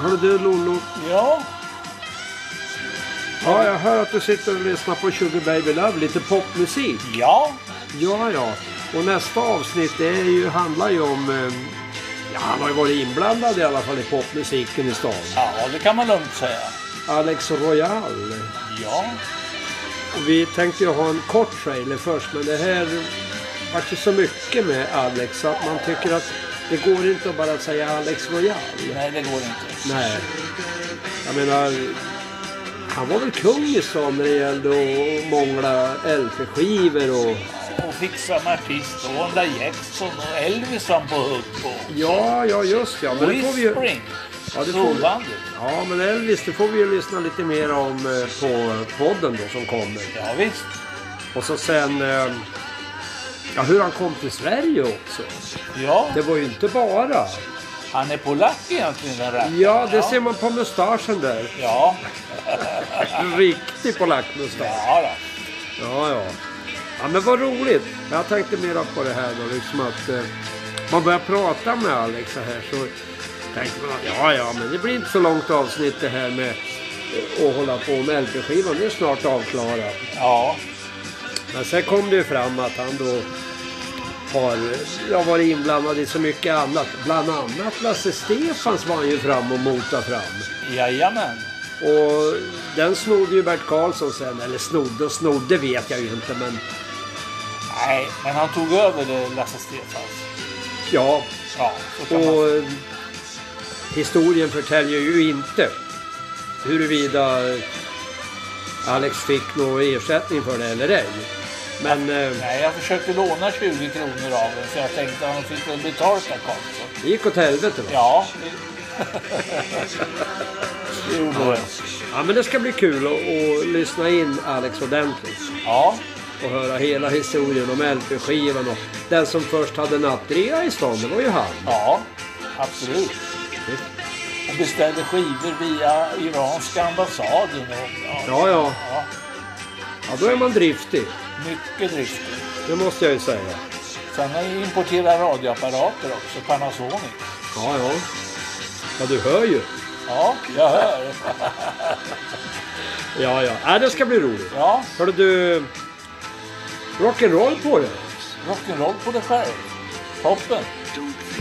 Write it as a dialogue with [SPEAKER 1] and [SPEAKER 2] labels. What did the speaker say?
[SPEAKER 1] Hörru du Lollo.
[SPEAKER 2] Ja.
[SPEAKER 1] Ja, jag hör att du sitter och lyssnar på Sugar Baby Love. Lite popmusik.
[SPEAKER 2] Ja.
[SPEAKER 1] Ja, ja. Och nästa avsnitt det är ju, handlar ju om... eh, Ja, han har ju varit inblandad i alla fall i popmusiken i stan.
[SPEAKER 2] Ja, det kan man lugnt säga.
[SPEAKER 1] Alex Royal.
[SPEAKER 2] Ja.
[SPEAKER 1] Och vi tänkte ju ha en kort trailer först, men det här vart ju så mycket med Alex så att man tycker att det går inte att bara säga Alex Royal.
[SPEAKER 2] Nej, det går inte.
[SPEAKER 1] Nej. Jag menar, han var väl kung i stan när det gällde att mångla LP-skivor och...
[SPEAKER 2] Och fixa med Pistolanda Jackson och Elvis han på hugg på.
[SPEAKER 1] Ja, ja just ja. Men det får vi ju...
[SPEAKER 2] Whispering.
[SPEAKER 1] Ja, det får vi-
[SPEAKER 2] Storbandet.
[SPEAKER 1] Ja, men Elvis, det får vi ju lyssna lite mer om eh, på podden då som kommer.
[SPEAKER 2] Ja, visst.
[SPEAKER 1] Och så sen... eh, Ja, hur han kom till Sverige också.
[SPEAKER 2] Ja,
[SPEAKER 1] Det var ju inte bara.
[SPEAKER 2] han är polack egentligen den rackaren.
[SPEAKER 1] Ja, det ser man på mustaschen där.
[SPEAKER 2] Ja,
[SPEAKER 1] En riktig polackmustasch.
[SPEAKER 2] ja då.
[SPEAKER 1] Ja, ja. Ja, men vad roligt. Jag tänkte mera på det här då, liksom att eh, man börjar prata med Alex så här så tänkte man att ja, ja, men det blir inte så långt avsnitt det här med eh, att hålla på med LP-skivan. Det är snart avklarat.
[SPEAKER 2] Ja,
[SPEAKER 1] Men sen kom det ju fram att han då har jag varit inblandad i så mycket annat. Bland annat Lasse Stefans var han ju fram och motade fram.
[SPEAKER 2] jajamän.
[SPEAKER 1] Och den snodde ju Bert Karlsson sen. Eller snodde och snodde vet jag ju inte men
[SPEAKER 2] Nej, men han tog över det, Lasse Stefans.
[SPEAKER 1] ja.
[SPEAKER 2] Ja, så kan man
[SPEAKER 1] Och eh, historien förtäljer ju inte huruvida eh, Alex fick någon ersättning för det eller ej. Men eh,
[SPEAKER 2] Nej, jag försökte låna 20 kronor av den så jag tänkte att han fick väl betalt där Karlsson.
[SPEAKER 1] det gick åt helvete. Va?
[SPEAKER 2] Ja. det gjorde det.
[SPEAKER 1] Ja men det ska bli kul att, att lyssna in Alex ordentligt.
[SPEAKER 2] Ja,
[SPEAKER 1] Och höra hela historien om LP-skivan och den som först hade nattrea i stan, det var ju han.
[SPEAKER 2] ja, absolut. Och beställde skivor via iranska ambassaden. Och,
[SPEAKER 1] Ja, ja.
[SPEAKER 2] ja,
[SPEAKER 1] Ja då är man driftig.
[SPEAKER 2] mycket drygt.
[SPEAKER 1] Det måste jag ju säga.
[SPEAKER 2] Sen har jag importerat radioapparater också, Panasonic.
[SPEAKER 1] Ja, ja. Ja, du hör ju.
[SPEAKER 2] Ja, jag hör.
[SPEAKER 1] Ja, ja. Äh, det ska bli roligt.
[SPEAKER 2] Ja,
[SPEAKER 1] Hörru du, rock'n'roll på dig.
[SPEAKER 2] rock'n'roll på dig själv. Toppen.